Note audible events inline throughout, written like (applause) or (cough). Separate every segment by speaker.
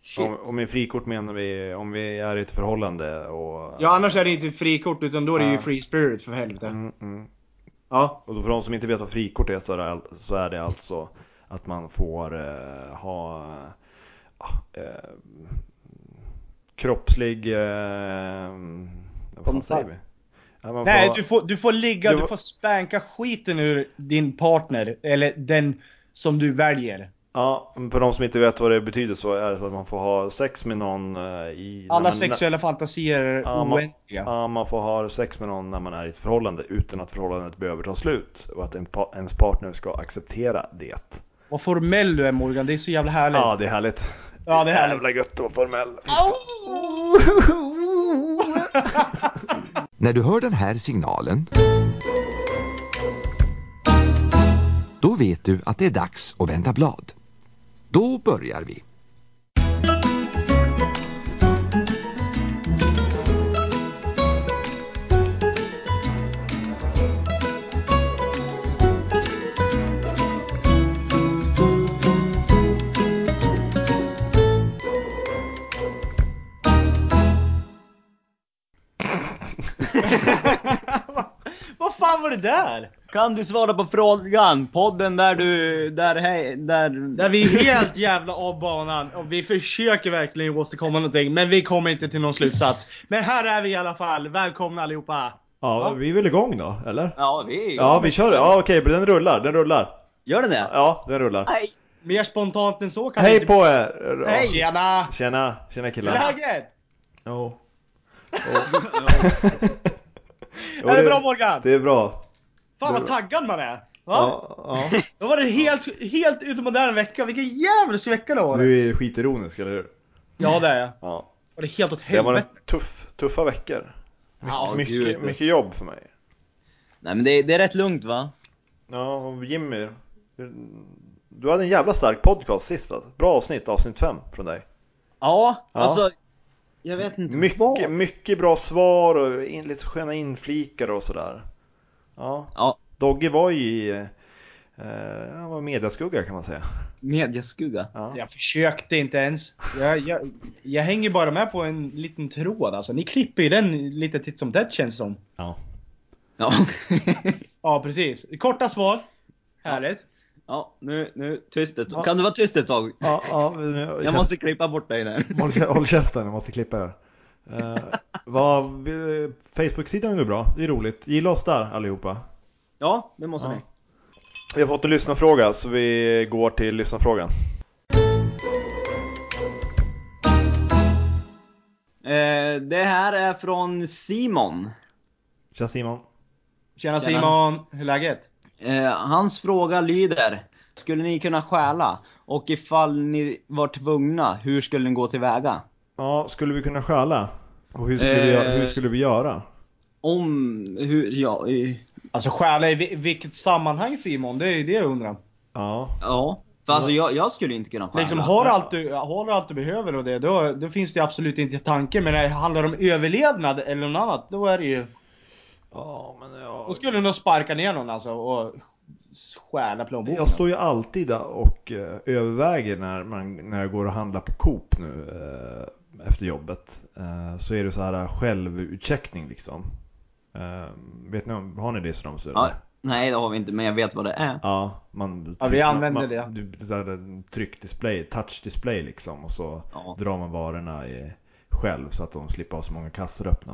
Speaker 1: Shit. Om, om med frikort menar vi om vi är i ett förhållande och...
Speaker 2: Ja, annars är det inte frikort utan då är det ju
Speaker 1: Ja.
Speaker 2: free spirit för helvete.
Speaker 1: Mm, mm.
Speaker 2: Ja.
Speaker 1: Och då för de som inte vet vad frikort är så är det, all, så är det alltså att man får eh, ha eh, eh, kroppslig... Eh, vad fan
Speaker 3: Kontakt.
Speaker 1: säger vi? Ja, man
Speaker 2: Nej,
Speaker 1: ha-
Speaker 2: du får, du får ligga,
Speaker 1: Du
Speaker 2: du
Speaker 1: får-
Speaker 2: får spänka skiten ur din partner, eller den som du väljer.
Speaker 1: Ja, för de som inte vet vad det betyder så är det så att man får ha sex med någon eh, i... när
Speaker 2: Alla
Speaker 1: man-
Speaker 2: sexuella fantasier är
Speaker 1: Ja, man-
Speaker 2: oändliga.
Speaker 1: Ja, man får ha sex med någon när man är i ett förhållande utan att förhållandet behöver ta slut och att en pa- ens partner ska acceptera det.
Speaker 2: Vad formell du är Morgan, det är så jävla härligt.
Speaker 1: Ja, det är härligt.
Speaker 2: Ja, det är härligt.
Speaker 1: Jävla gött att vara formell.
Speaker 4: När du hör den här signalen då vet du att det är dags att vända blad. Då börjar vi.
Speaker 3: Vad fan var det där? Kan du svara på frågan? Podden där du... Där hej... Där...
Speaker 2: Där vi är helt jävla av banan och vi försöker verkligen åstadkomma någonting men vi kommer inte till någon slutsats. Men här är vi i alla fall, välkomna allihopa!
Speaker 1: (laughs) Ja, vi är väl igång då, eller?
Speaker 3: Ja, vi är
Speaker 1: Ja, vi kör det. Ja, okej, den rullar, den rullar.
Speaker 3: Gör den det?
Speaker 1: Ja, den rullar.
Speaker 3: Nej.
Speaker 2: Mer spontant än så kan det
Speaker 1: Hej
Speaker 2: inte...
Speaker 1: på er!
Speaker 2: Hej! Tjena!
Speaker 1: Tjena, tjena
Speaker 2: Hur är
Speaker 1: killar.
Speaker 2: läget?
Speaker 1: Jo. Jo,
Speaker 2: Är det bra Morgan?
Speaker 1: Det är bra.
Speaker 2: Fan
Speaker 1: det
Speaker 2: vad
Speaker 1: är bra.
Speaker 2: taggad man är! Va?
Speaker 1: Ja, ja.
Speaker 2: Då var det helt, helt utom modern vecka, vilken jävla vecka det var!
Speaker 1: Du är skitironisk, eller hur?
Speaker 2: Ja det är jag.
Speaker 1: Ja.
Speaker 2: Var det helt åt
Speaker 1: Det var en
Speaker 2: helvete?
Speaker 1: tuff, tuffa veckor.
Speaker 3: Ja,
Speaker 1: mycket,
Speaker 3: gud.
Speaker 1: mycket jobb för mig.
Speaker 3: Nej men det, det är rätt lugnt va?
Speaker 1: Ja, och Jimmy. Du hade en jävla stark podcast sist alltså. Bra avsnitt, avsnitt 5 från dig.
Speaker 3: Ja,
Speaker 1: Ja.
Speaker 3: alltså... Jag vet inte
Speaker 1: Mycket, mycket bra svar och in, lite sköna inflikar och sådär. Ja.
Speaker 3: Ja.
Speaker 1: Dogge var ju i, eh, han var mediaskugga kan man säga.
Speaker 3: Mediaskugga.
Speaker 1: Ja.
Speaker 2: Jag försökte inte ens. Jag, jag, jag hänger bara med på en liten tråd alltså. Ni klipper ju den lite titt som tätt känns det som.
Speaker 1: Ja.
Speaker 3: Ja.
Speaker 2: Ja precis. Korta svar. Härligt.
Speaker 3: (laughs) ja, nu, nu, tyst ett Kan du vara tyst ett tag?
Speaker 1: ja, nu-
Speaker 3: Jag måste klippa bort dig där.
Speaker 1: Håll, kä- håll käften, jag måste klippa här. Eh, vad, eh, Facebook-sidan går bra, det är roligt. Gilla oss där allihopa.
Speaker 3: Ja, det måste
Speaker 1: Ja.
Speaker 3: ni.
Speaker 1: Vi har fått en lyssnarfråga så vi går till lyssnarfrågan.
Speaker 3: Eh, det här är från Simon.
Speaker 1: Tja Simon.
Speaker 2: Tjena,
Speaker 3: Tjena.
Speaker 2: Simon, hur är läget?
Speaker 3: Eh, hans fråga lyder. Skulle ni kunna stjäla? Och ifall ni var tvungna, hur skulle ni gå tillväga?
Speaker 1: Ja, skulle vi kunna stjäla? Och hur skulle, vi,
Speaker 3: Eh.
Speaker 1: göra- hur skulle vi göra?
Speaker 3: Om, hur, ja, eh,
Speaker 2: Alltså stjäla i vi- vilket sammanhang Simon? Det är det jag undrar.
Speaker 1: Ja,
Speaker 3: ja. För alltså jag, jag skulle inte kunna stjäla.
Speaker 2: Liksom, har, allt du, har du allt du behöver och det, då, då finns det ju absolut inte i tanken. Men när det handlar om överlevnad eller något annat, då är det ju...
Speaker 1: ja men
Speaker 2: Då
Speaker 1: jag...
Speaker 2: skulle du nog sparka ner någon alltså och stjäla plånboken.
Speaker 1: Jag står ju alltid där och eh, överväger när, man, när jag går och handlar på Coop nu eh, efter jobbet. Eh, så är det så här självutcheckning liksom. Eh, vet ni om, har ni det som de ser?
Speaker 3: Ja, nej det har vi inte, men jag vet vad det är.
Speaker 1: Ja, man
Speaker 2: Ja, vi använder det.
Speaker 1: Du, det där, en tryckdisplay, touchdisplay liksom och så
Speaker 3: Ja.
Speaker 1: drar man varorna i, själv så att de slipper ha så många kassor öppna.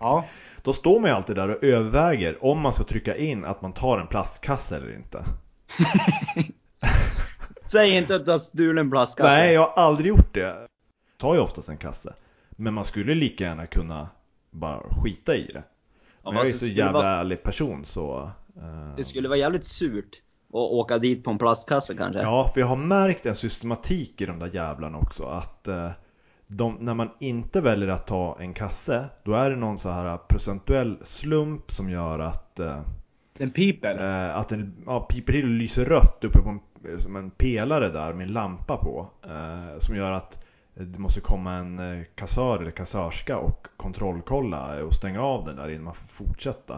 Speaker 2: Ja.
Speaker 1: Då står man ju alltid där och överväger om man ska trycka in att man tar en plastkasse eller inte.
Speaker 3: Säg inte att du har stulit en plastkasse.
Speaker 1: Nej, jag har aldrig gjort det. Tar ju oftast en kasse. Men man skulle lika gärna kunna bara skita i det. Men jag är
Speaker 3: alltså,
Speaker 1: så
Speaker 3: det skulle
Speaker 1: jävla
Speaker 3: vara-
Speaker 1: ärlig person så... eh,
Speaker 3: Det skulle vara jävligt surt att åka dit på en plastkasse (laughs) kanske.
Speaker 1: Ja, för jag har märkt en systematik i de där jävlarna också att eh, de, när man inte väljer att ta en kasse, då är det någon så här procentuell slump som gör att, eh,
Speaker 2: Den piper.
Speaker 1: eh, att den ja, piper till och lyser rött uppe på en, eh, som en pelare där med en lampa på. Eh, som gör att det måste komma en eh, kassör eller kassörska och kontrollkolla och stänga av den där innan man får fortsätta.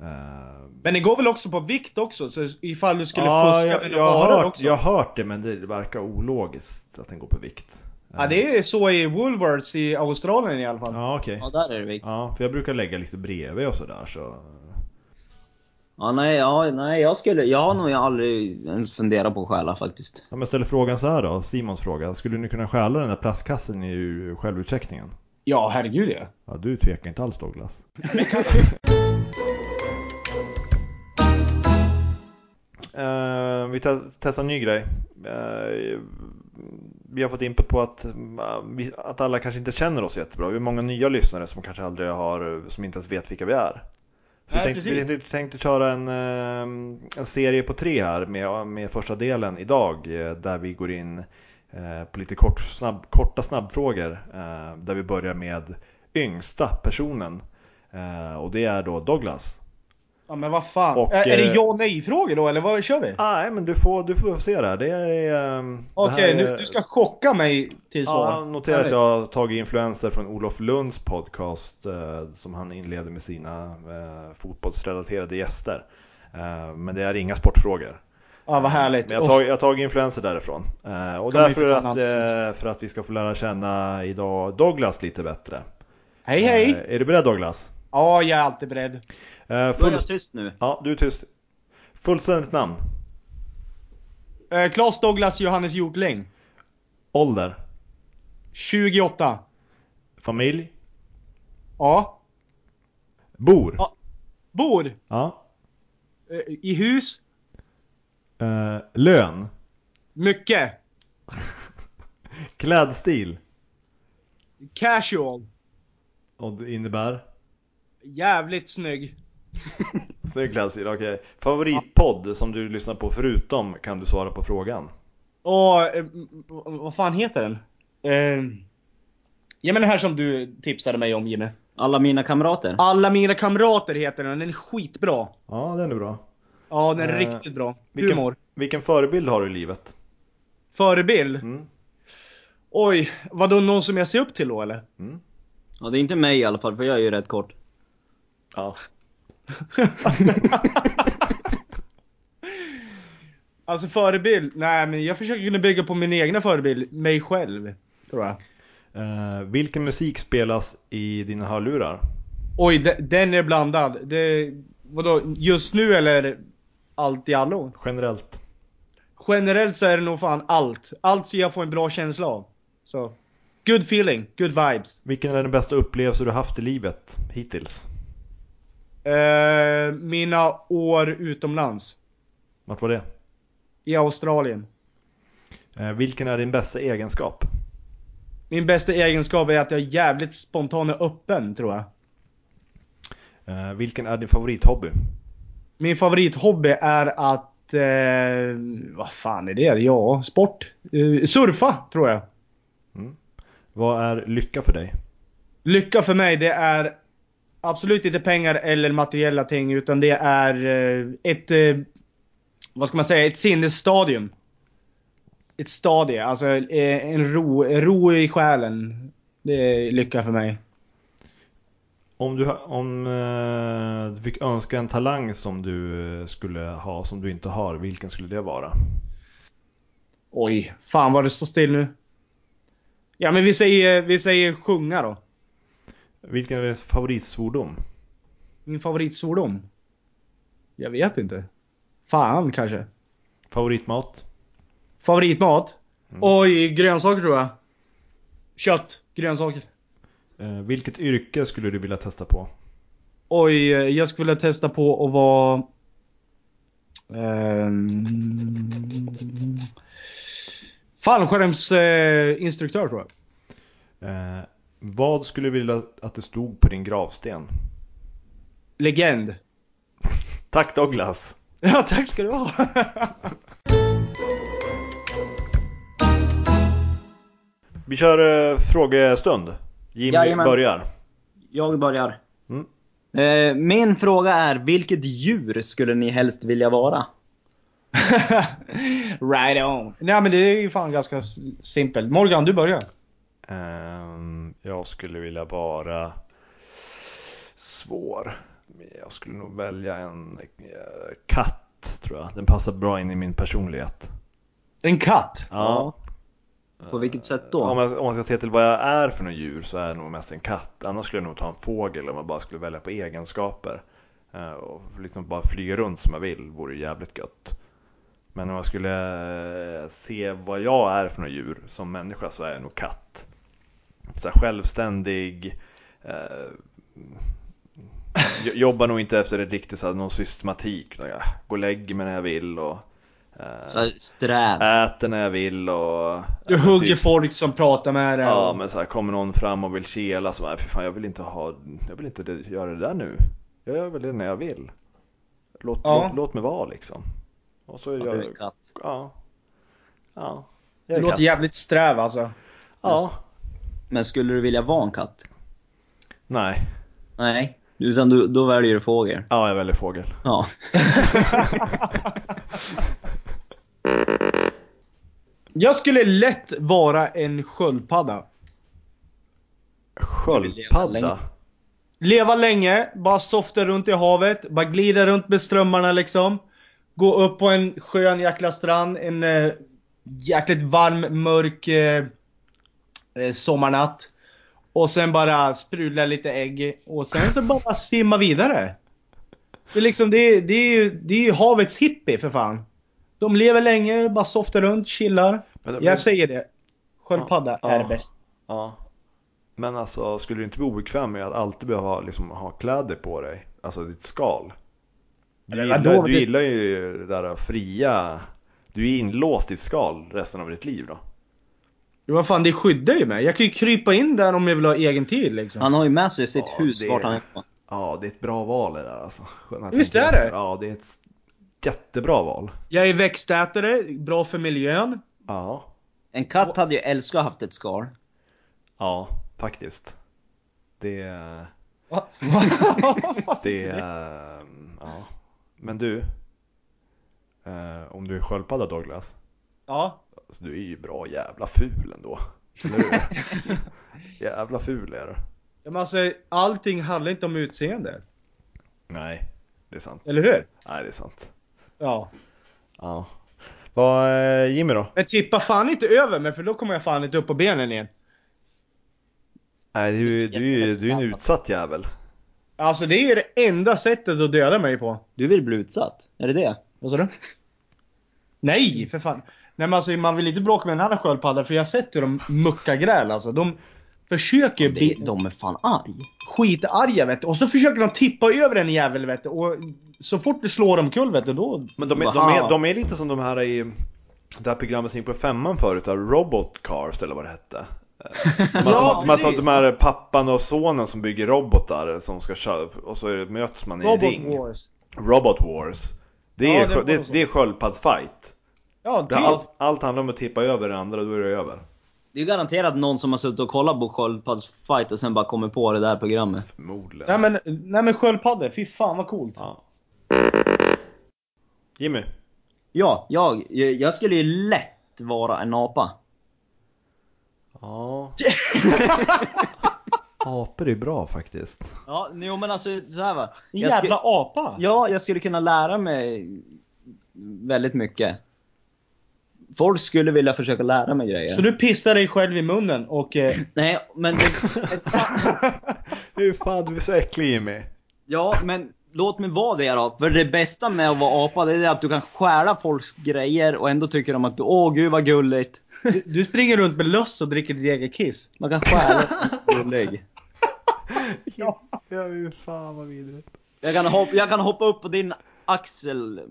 Speaker 1: Eh,
Speaker 2: Men det går väl också på vikt också? Så ifall du skulle
Speaker 1: ja,
Speaker 2: fuska
Speaker 1: jag,
Speaker 2: med
Speaker 1: jag,
Speaker 2: några
Speaker 1: har
Speaker 2: varor
Speaker 1: hört,
Speaker 2: också?
Speaker 1: jag har hört det men det verkar ologiskt att den går på vikt.
Speaker 2: Ja, det är så i Woolworths i Australien i alla fall.
Speaker 1: Eh, Ja, okej.
Speaker 3: Ja, där är det viktigt.
Speaker 1: Ja, för jag brukar lägga lite bredvid och sådär så...
Speaker 3: Ja, nej, ja, nej jag, skulle, jag har nog aldrig ens funderat på att stjäla faktiskt.
Speaker 1: Ja, men ställer frågan så här då, Simons fråga. Skulle ni kunna stjäla den där plastkassen i ju- självutcheckningen?
Speaker 2: Ja, herregud ja.
Speaker 1: Ja, du tvekar inte alls Douglas. Eh, vi te- testar en ny grej. Eh, vi har fått input på att, eh, vi, att alla kanske inte känner oss jättebra. Vi har många nya lyssnare som kanske aldrig har, som inte ens vet vilka vi är. Så
Speaker 2: Nej,
Speaker 1: vi, tänkte, vi
Speaker 2: precis.
Speaker 1: tänkte, tänkte köra en, eh, en serie på tre här med, med första delen idag eh, där vi går in eh, på lite kort, snabb, korta snabbfrågor eh, där vi börjar med yngsta personen eh, och det är då Douglas.
Speaker 2: Ja men vad fan.
Speaker 1: Och,
Speaker 2: Ä- är det
Speaker 1: eh,
Speaker 2: ja nej frågor då eller vad kör vi?
Speaker 1: Ah, nej men du får, du får se det här. Det är... ehm, det
Speaker 2: Okej,
Speaker 1: här
Speaker 2: nu,
Speaker 1: är-
Speaker 2: du ska chocka mig till svar.
Speaker 1: Ja, notera att jag har tagit influenser från Olof Lunds podcast eh, som han inleder med sina eh, fotbollsrelaterade gäster. Eh, men det är inga sportfrågor.
Speaker 2: Ja, vad härligt.
Speaker 1: Men jag har
Speaker 2: Åh,
Speaker 1: tagit, jag har tagit influenser därifrån. Eh, och
Speaker 2: Kommer
Speaker 1: därför
Speaker 2: inte
Speaker 1: att,
Speaker 2: på något
Speaker 1: eh, för att vi ska få lära känna idag Douglas lite bättre.
Speaker 2: hej hej!
Speaker 1: Eh, är du beredd Douglas?
Speaker 2: Ja, jag är alltid beredd.
Speaker 1: Eh,
Speaker 3: Då är
Speaker 1: full...
Speaker 3: jag tyst nu.
Speaker 1: Ja, du är tyst. Fullständigt namn.
Speaker 2: Eh, Claes Douglas Johannes Hjortling.
Speaker 1: Ålder.
Speaker 2: 28.
Speaker 1: Familj.
Speaker 2: Ja.
Speaker 1: Bor.
Speaker 2: Ja. Bor
Speaker 1: Ja.
Speaker 2: eh, i hus.
Speaker 1: Eh, lön.
Speaker 2: Mycket.
Speaker 1: Klädstil.
Speaker 2: Casual.
Speaker 1: Och det innebär?
Speaker 2: Jävligt snygg.
Speaker 1: Snygg klädstil, okej. Favoritpodd som du lyssnar på förutom kan du svara på frågan.
Speaker 2: Och eh, m- m- vad fan heter den? Eh, ja men det här som du tipsade mig om Jimmy.
Speaker 3: Alla mina kamrater.
Speaker 2: Alla mina kamrater heter den, den är skitbra.
Speaker 1: Ja, den är bra.
Speaker 2: Ja, den är
Speaker 1: Eh,
Speaker 2: riktigt bra.
Speaker 1: Vilken,
Speaker 2: Humor.
Speaker 1: vilken förebild har du i livet?
Speaker 2: Förebild?
Speaker 1: Mm.
Speaker 2: Oj, vadå någon som jag ser upp till då eller?
Speaker 3: Ja, det är inte mig i alla fall, för jag är ju rätt kort.
Speaker 1: Ja.
Speaker 2: Alltså förebild? Nej men jag försöker kunna bygga på min egna förebild, mig själv. Tror jag.
Speaker 1: (laughs) Eh, vilken musik spelas i dina hörlurar?
Speaker 2: Oj, de- den är blandad. Det, vadå, just nu eller allt i allo?
Speaker 1: Generellt.
Speaker 2: Generellt så är det nog fan allt. Allt så jag får en bra känsla av. Så, good feeling, good vibes.
Speaker 1: Vilken är den bästa upplevelse du haft i livet hittills?
Speaker 2: Eh, mina år utomlands.
Speaker 1: Vart var det?
Speaker 2: I Australien.
Speaker 1: Eh, vilken är din bästa egenskap?
Speaker 2: Min bästa egenskap är att jag är jävligt spontan och öppen tror jag.
Speaker 1: Eh, vilken är din favorithobby?
Speaker 2: Min favorithobby är att... Eh, vad fan är det? Ja, sport. Eh, surfa, tror jag.
Speaker 1: Vad är lycka för dig?
Speaker 2: Lycka för mig, det är absolut inte pengar eller materiella ting, utan det är eh, ett... Eh, vad ska man säga? Ett sinnesstadium. Ett stadie, alltså eh, en ro, en ro i själen. Det är lycka för mig.
Speaker 1: Om du, ha- om, eh, du fick önska en talang som du eh, skulle ha, som du inte har, vilken skulle det vara?
Speaker 2: Oj, fan vad det står still nu. Ja men vi säger, vi säger sjunga då.
Speaker 1: Vilken är din favoritsvordom?
Speaker 2: Min favoritsvordom? Jag vet inte. Fan kanske.
Speaker 1: Favoritmat?
Speaker 2: Favoritmat?
Speaker 1: Mm.
Speaker 2: Oj, grönsaker tror jag. Kött, grönsaker.
Speaker 1: Eh, vilket yrke skulle du vilja testa på?
Speaker 2: Oj, eh, jag skulle vilja testa på att vara... Ehm... Fallskärmsinstruktör eh, instruktör, tror jag.
Speaker 1: Eh, vad skulle du vilja att det stod på din gravsten?
Speaker 2: Legend. (laughs)
Speaker 1: Tack Douglas!
Speaker 2: Ja, tack ska du ha. (laughs)
Speaker 1: Vi kör eh, frågestund. Jimmy
Speaker 3: Jajamän.
Speaker 1: börjar.
Speaker 3: Jag börjar.
Speaker 1: Mm.
Speaker 3: Eh, min fråga är, vilket djur skulle ni helst vilja vara?
Speaker 2: right on. Nej men det är ju fan ganska s- simpelt. Morgan, du börjar.
Speaker 1: Ehm, jag skulle vilja vara svår. jag skulle nog välja en eh, katt tror jag. Den passar bra in i min personlighet.
Speaker 2: En katt?
Speaker 1: Ja.
Speaker 3: På vilket sätt då?
Speaker 1: Om, jag, om man ska se till vad jag är för något djur så är det nog mest en katt. Annars skulle jag nog ta en fågel om jag bara skulle välja på egenskaper. Eh, Och liksom bara flyga runt som jag vill vore ju jävligt gött. Men om jag skulle eh, se vad jag är för något djur som människa så är jag nog katt. Så här självständig. Eh, jo- jobbar nog inte efter en riktigt så här, någon systematik. Jag går och lägger mig när jag vill och eh,
Speaker 3: Så här, sträv.
Speaker 1: äter när jag vill och...
Speaker 2: Du
Speaker 1: ja, men
Speaker 2: hugger
Speaker 1: typ-
Speaker 2: folk som pratar med dig.
Speaker 1: Ja
Speaker 2: och-
Speaker 1: men så här, kommer någon fram och vill kela så här, för fan jag vill inte ha, jag vill inte det- göra det där nu. Jag gör väl det när jag vill. Låt,
Speaker 2: Ja.
Speaker 1: låt, låt mig vara liksom. Och så
Speaker 3: Ja,
Speaker 1: gör
Speaker 3: du är
Speaker 1: jag,
Speaker 3: en katt.
Speaker 1: ja. Ja. Jag
Speaker 2: Du
Speaker 1: är
Speaker 2: låter
Speaker 1: katt.
Speaker 2: jävligt sträv alltså.
Speaker 1: Ja.
Speaker 3: Men skulle du vilja vara en katt?
Speaker 1: Nej.
Speaker 3: Nej. Utan du, då väljer du fågel.
Speaker 1: Ja jag väljer fågel.
Speaker 3: Ja.
Speaker 2: Jag skulle lätt vara en sköldpadda.
Speaker 1: Sköldpadda.
Speaker 3: länge.
Speaker 2: Leva länge, bara softa runt i havet, bara glida runt med strömmarna liksom. Gå upp på en skön jäkla strand, en eh, jäkligt varm, mörk eh, eh, sommarnatt. Och sen bara sprudla lite ägg och sen så bara simma vidare. Det är liksom, det är, det är, ju, det är ju havets hippie för fan. De lever länge, bara softar runt, chillar.
Speaker 1: Men- men-
Speaker 2: Jag säger det. Sköldpadda
Speaker 1: Ja,
Speaker 2: är
Speaker 1: ja.
Speaker 2: bäst.
Speaker 1: Ja. Men alltså skulle du inte bli obekväm med att alltid behöva ha- liksom, ha kläder på dig? Alltså ditt skal. Du
Speaker 2: Eller vadå?
Speaker 1: gillar, du
Speaker 2: Det-
Speaker 1: gillar ju det där fria, du är inlåst i ett skal resten av ditt liv då.
Speaker 2: Jo, vad fan, det skyddar ju mig. Jag kan ju krypa in där om jag vill ha egen tid liksom.
Speaker 3: Han har ju med sig sitt
Speaker 1: Ja,
Speaker 3: hus
Speaker 1: det-
Speaker 3: vart han är på.
Speaker 1: Ja, det är ett bra val det där alltså. Skönt att
Speaker 2: Visst
Speaker 1: tänka
Speaker 2: är det?
Speaker 1: efter. Ja, det är ett jättebra val.
Speaker 2: Jag är växtätare, bra för miljön. (laughs)
Speaker 1: Ja,
Speaker 3: En katt hade ju älskat att haft ett skal.
Speaker 1: ja, faktiskt. Det,
Speaker 2: Va?
Speaker 1: det, ehm, ja. Men du, eh, om du är sköldpadda Douglas,
Speaker 2: Ja.
Speaker 1: alltså, du är ju bra jävla ful ändå. Eller hur?
Speaker 2: (laughs)
Speaker 1: jävla ful är du.
Speaker 2: Men alltså, allting handlar inte om utseende.
Speaker 1: Nej, det är sant.
Speaker 2: Eller hur?
Speaker 1: Nej, det är sant.
Speaker 2: Ja.
Speaker 1: Ja. Vad, eh, Jimmy då?
Speaker 2: Men tippa fan inte över mig för då kommer jag fan inte upp på benen igen.
Speaker 1: Nej, du, du, du är en utsatt jävel.
Speaker 2: Alltså det är ju det enda sättet att döda mig på.
Speaker 3: Du vill bli utsatt? Är det det?
Speaker 2: Vad sa du? Nej, för fan. Nej men alltså man vill inte bråka med en annan sköldpadda för jag har sett hur de muckar gräl alltså. De försöker ju
Speaker 3: det
Speaker 2: bli
Speaker 3: de är fan arg.
Speaker 2: skitarga vet du. Och så försöker de tippa över en jävel vet du. Och så fort du slår omkull vet du då...
Speaker 1: Men de är, de,
Speaker 3: Aha.
Speaker 1: är, de är lite som de här i det här programmet som gick på femman förut, där Robot Cars eller vad det hette. (laughs) De här,
Speaker 2: Ja,
Speaker 1: de, här, som-
Speaker 2: precis.
Speaker 1: de här pappan och sonen som bygger robotar som ska köra och så är det- möts man i en
Speaker 2: Robot
Speaker 1: ring.
Speaker 2: Wars.
Speaker 1: Robot Wars. Det är,
Speaker 2: Ja, det
Speaker 1: skö-
Speaker 2: var
Speaker 1: det,
Speaker 2: så.
Speaker 1: det är sköldpaddsfight.
Speaker 2: Ja,
Speaker 1: Det
Speaker 2: typ.
Speaker 1: här- Allt, allt handlar om att tippa över den andra, då är det över.
Speaker 3: Det är garanterat någon som har suttit och kollat på sköldpaddsfight och sen bara kommit på det där programmet.
Speaker 1: Förmodligen.
Speaker 2: Nej men, nej men sköldpaddor, fy fan vad coolt.
Speaker 1: Ja. Jimmy,
Speaker 3: Ja, jag, jag jag skulle ju lätt vara en apa.
Speaker 2: (laughs)
Speaker 1: Ja. Apor är bra faktiskt.
Speaker 3: Ja, jo men alltså så här va.
Speaker 2: En
Speaker 3: Jag
Speaker 2: jävla
Speaker 3: skulle,
Speaker 2: apa!
Speaker 3: ja, jag skulle kunna lära mig väldigt mycket. Folk skulle vilja försöka lära mig grejer.
Speaker 2: Så du pissar dig själv i munnen och... Eh,
Speaker 3: Nej, men... (laughs) Det,
Speaker 1: (laughs) Hur fan, du är så äcklig Jimmy.
Speaker 3: ja, men låt mig vara det då. För det bästa med att vara apa, det är att du kan stjäla folks grejer och ändå tycker de att du, åh gud vad gulligt.
Speaker 2: du, du springer runt med löss och dricker ditt eget kiss.
Speaker 3: Man
Speaker 1: (laughs)
Speaker 3: kan stjäla gullig.
Speaker 1: Ja, hur fan vad vidrigt.
Speaker 3: Jag kan, hoppa, jag kan hoppa upp på din axel.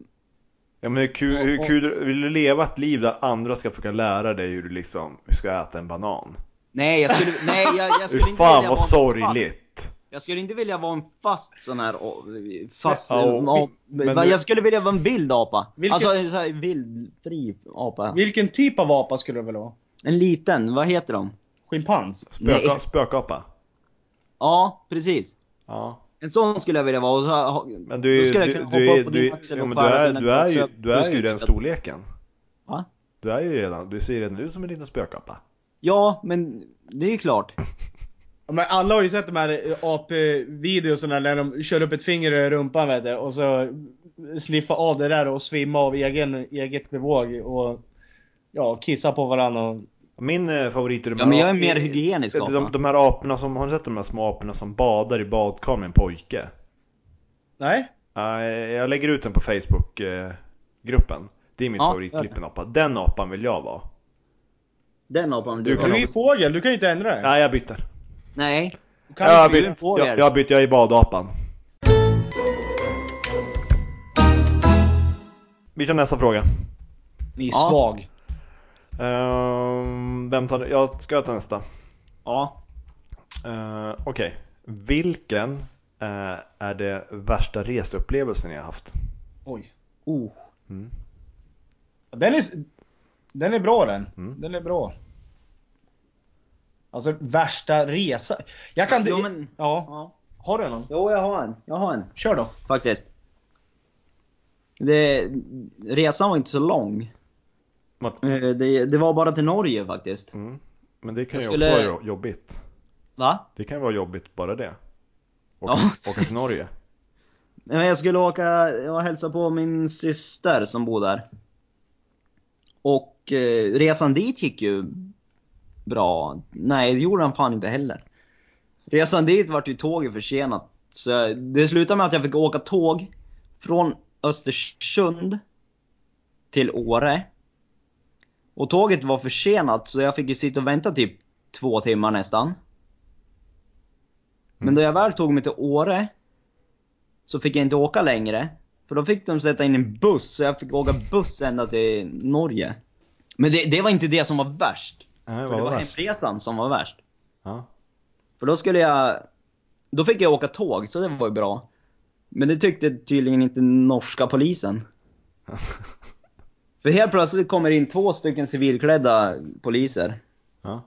Speaker 1: Ja men hur kul, hur kul, vill du leva ett liv där andra ska försöka lära dig hur du liksom, hur ska äta en banan?
Speaker 3: Nej, jag skulle, nej, jag, jag skulle
Speaker 1: Hur
Speaker 3: inte
Speaker 1: fan
Speaker 3: vilja
Speaker 1: vad
Speaker 3: vara en Fast,
Speaker 1: sorgligt.
Speaker 3: jag skulle inte vilja vara en fast sån här å- fast...
Speaker 1: Ja, och-
Speaker 3: Ja,
Speaker 1: men
Speaker 3: va-
Speaker 1: du-
Speaker 3: jag skulle vilja vara en vild apa.
Speaker 2: Vilken-
Speaker 3: Alltså en sån här vild, fri apa.
Speaker 2: Vilken typ av apa skulle du vilja ha?
Speaker 3: En liten, vad heter de?
Speaker 2: Schimpans?
Speaker 1: Spöka,
Speaker 3: Nej.
Speaker 1: spökapa.
Speaker 3: Ja, precis.
Speaker 1: Ja.
Speaker 3: En sån skulle jag vilja vara och så ha-
Speaker 1: Men du är
Speaker 3: då
Speaker 1: ju,
Speaker 3: skulle
Speaker 1: du,
Speaker 3: jag
Speaker 1: du,
Speaker 3: kunna
Speaker 1: du,
Speaker 3: hoppa
Speaker 1: är-
Speaker 3: upp på din
Speaker 1: du,
Speaker 3: axel
Speaker 1: ja,
Speaker 3: och
Speaker 1: men du
Speaker 3: stjäla
Speaker 1: är,
Speaker 3: dina
Speaker 1: du är ju,
Speaker 3: köp-
Speaker 1: du är ju
Speaker 3: skulle
Speaker 1: den
Speaker 3: tycka att-
Speaker 1: storleken.
Speaker 3: Va?
Speaker 1: Du är ju redan, du ser ju redan ut som en liten spökapa.
Speaker 3: Ja, men det är ju klart.
Speaker 2: Ja, Men alla har ju sett de här eh, AP-videorna när de kör upp ett finger i rumpan vet du, och så sniffa av det där och svimma av egen, eget bevåg och ja, kissa på varandra och...
Speaker 1: Min eh, favorit är de
Speaker 3: Ja,
Speaker 1: här
Speaker 3: men jag är
Speaker 1: ap-
Speaker 3: mer hygienisk
Speaker 1: de,
Speaker 3: apa.
Speaker 1: de, de här aporna som, har ni sett de här små aporna som badar i badkar med en pojke?
Speaker 2: Nej?
Speaker 1: Ja, jag lägger ut den på Facebook-gruppen. Det är mitt
Speaker 3: Ja, gör
Speaker 1: favoritklipp, en apa. Den apan vill jag vara.
Speaker 3: Den apan
Speaker 1: Du
Speaker 3: du
Speaker 1: kan
Speaker 2: Du är
Speaker 3: kan...
Speaker 2: ju fågel, du kan ju inte ändra det.
Speaker 1: Nej, jag byter.
Speaker 3: Nej.
Speaker 2: Du kan
Speaker 1: Jag har
Speaker 2: inte.
Speaker 3: blir en
Speaker 1: bytt,
Speaker 3: fågel.
Speaker 1: jag, jag har bytt, jag är badapan. Vi tar nästa fråga.
Speaker 2: Ni är
Speaker 3: Ja.
Speaker 2: svag.
Speaker 1: Ehm, vem tar det? Jag ska ta nästa.
Speaker 3: Ja.
Speaker 1: Uh, Okej. Vilken eh, är det värsta reseupplevelsen ni har haft?
Speaker 2: Oj.
Speaker 3: Oh.
Speaker 2: Den är, den är bra den.
Speaker 1: Mm.
Speaker 2: Den är bra. Alltså värsta resa. Jag kan
Speaker 3: Jo, men-
Speaker 2: Ja.
Speaker 3: Ja.
Speaker 2: Har du någon?
Speaker 3: Jo, jag har en. Jag har en.
Speaker 2: Kör då.
Speaker 3: Faktiskt. Det, resan var inte så lång.
Speaker 1: Vad-
Speaker 3: Eh, Det, det var bara till Norge faktiskt.
Speaker 1: Mm. Men det kan
Speaker 3: Jag
Speaker 1: ju
Speaker 3: skulle-
Speaker 1: också vara jo- jobbigt.
Speaker 3: Va?
Speaker 1: Det kan ju vara jobbigt bara det. Åka,
Speaker 3: Ja.
Speaker 1: åka till
Speaker 3: (laughs)
Speaker 1: Norge.
Speaker 3: Nej, men Jag skulle åka och hälsa på min syster som bor där. Och eh, resan dit gick ju bra. Nej, det gjorde den fan inte heller. Resan dit vart ju tåget försenat. Så jag- det slutade med att jag fick åka tåg från Östersund till Åre. Och tåget var försenat så jag fick ju sitta och vänta typ två timmar nästan. Men då jag väl tog mig till Åre så fick jag inte åka längre. För då fick de sätta in en buss, så jag fick åka buss ända till Norge. Men det, det var inte det som var värst.
Speaker 1: Nej,
Speaker 3: För
Speaker 1: vad
Speaker 3: det var
Speaker 1: värst.
Speaker 3: hemresan som var värst.
Speaker 1: Ja. (laughs)
Speaker 3: För då skulle jag... Då fick jag åka tåg, så det var ju bra. Men det tyckte tydligen inte norska polisen. För helt plötsligt kommer in två stycken civilklädda poliser.
Speaker 1: Ja.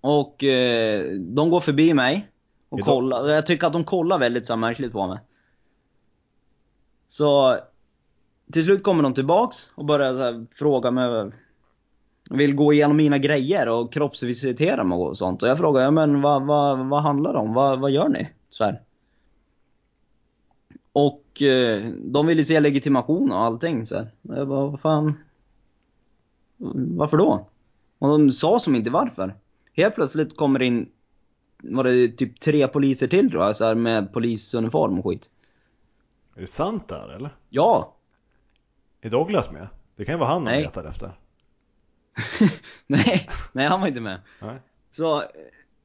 Speaker 3: Och eh, de går förbi mig och
Speaker 1: Är de-
Speaker 3: kollar. Jag tycker att de kollar väldigt så här märkligt på mig. Så till slut kommer de tillbaks och börjar så här, fråga mig. Vill gå igenom mina grejer och kroppsvisitera mig och sånt. Och jag frågar, ja men vad, vad, vad handlar det om? Vad, vad gör ni? Så här. Och eh, de ville se legitimation och allting så här. Och Jag bara, vad fan? Varför då? Och de sa som inte varför. Helt plötsligt kommer det in, var det typ tre poliser till tror jag, så här med polisuniform och skit.
Speaker 1: Är det sant där eller?
Speaker 3: Ja! (laughs)
Speaker 1: Är Douglas med? Det kan ju vara han de
Speaker 3: Nej.
Speaker 1: letar efter.
Speaker 3: nej, nej han var inte med.
Speaker 1: Nej.
Speaker 3: Så,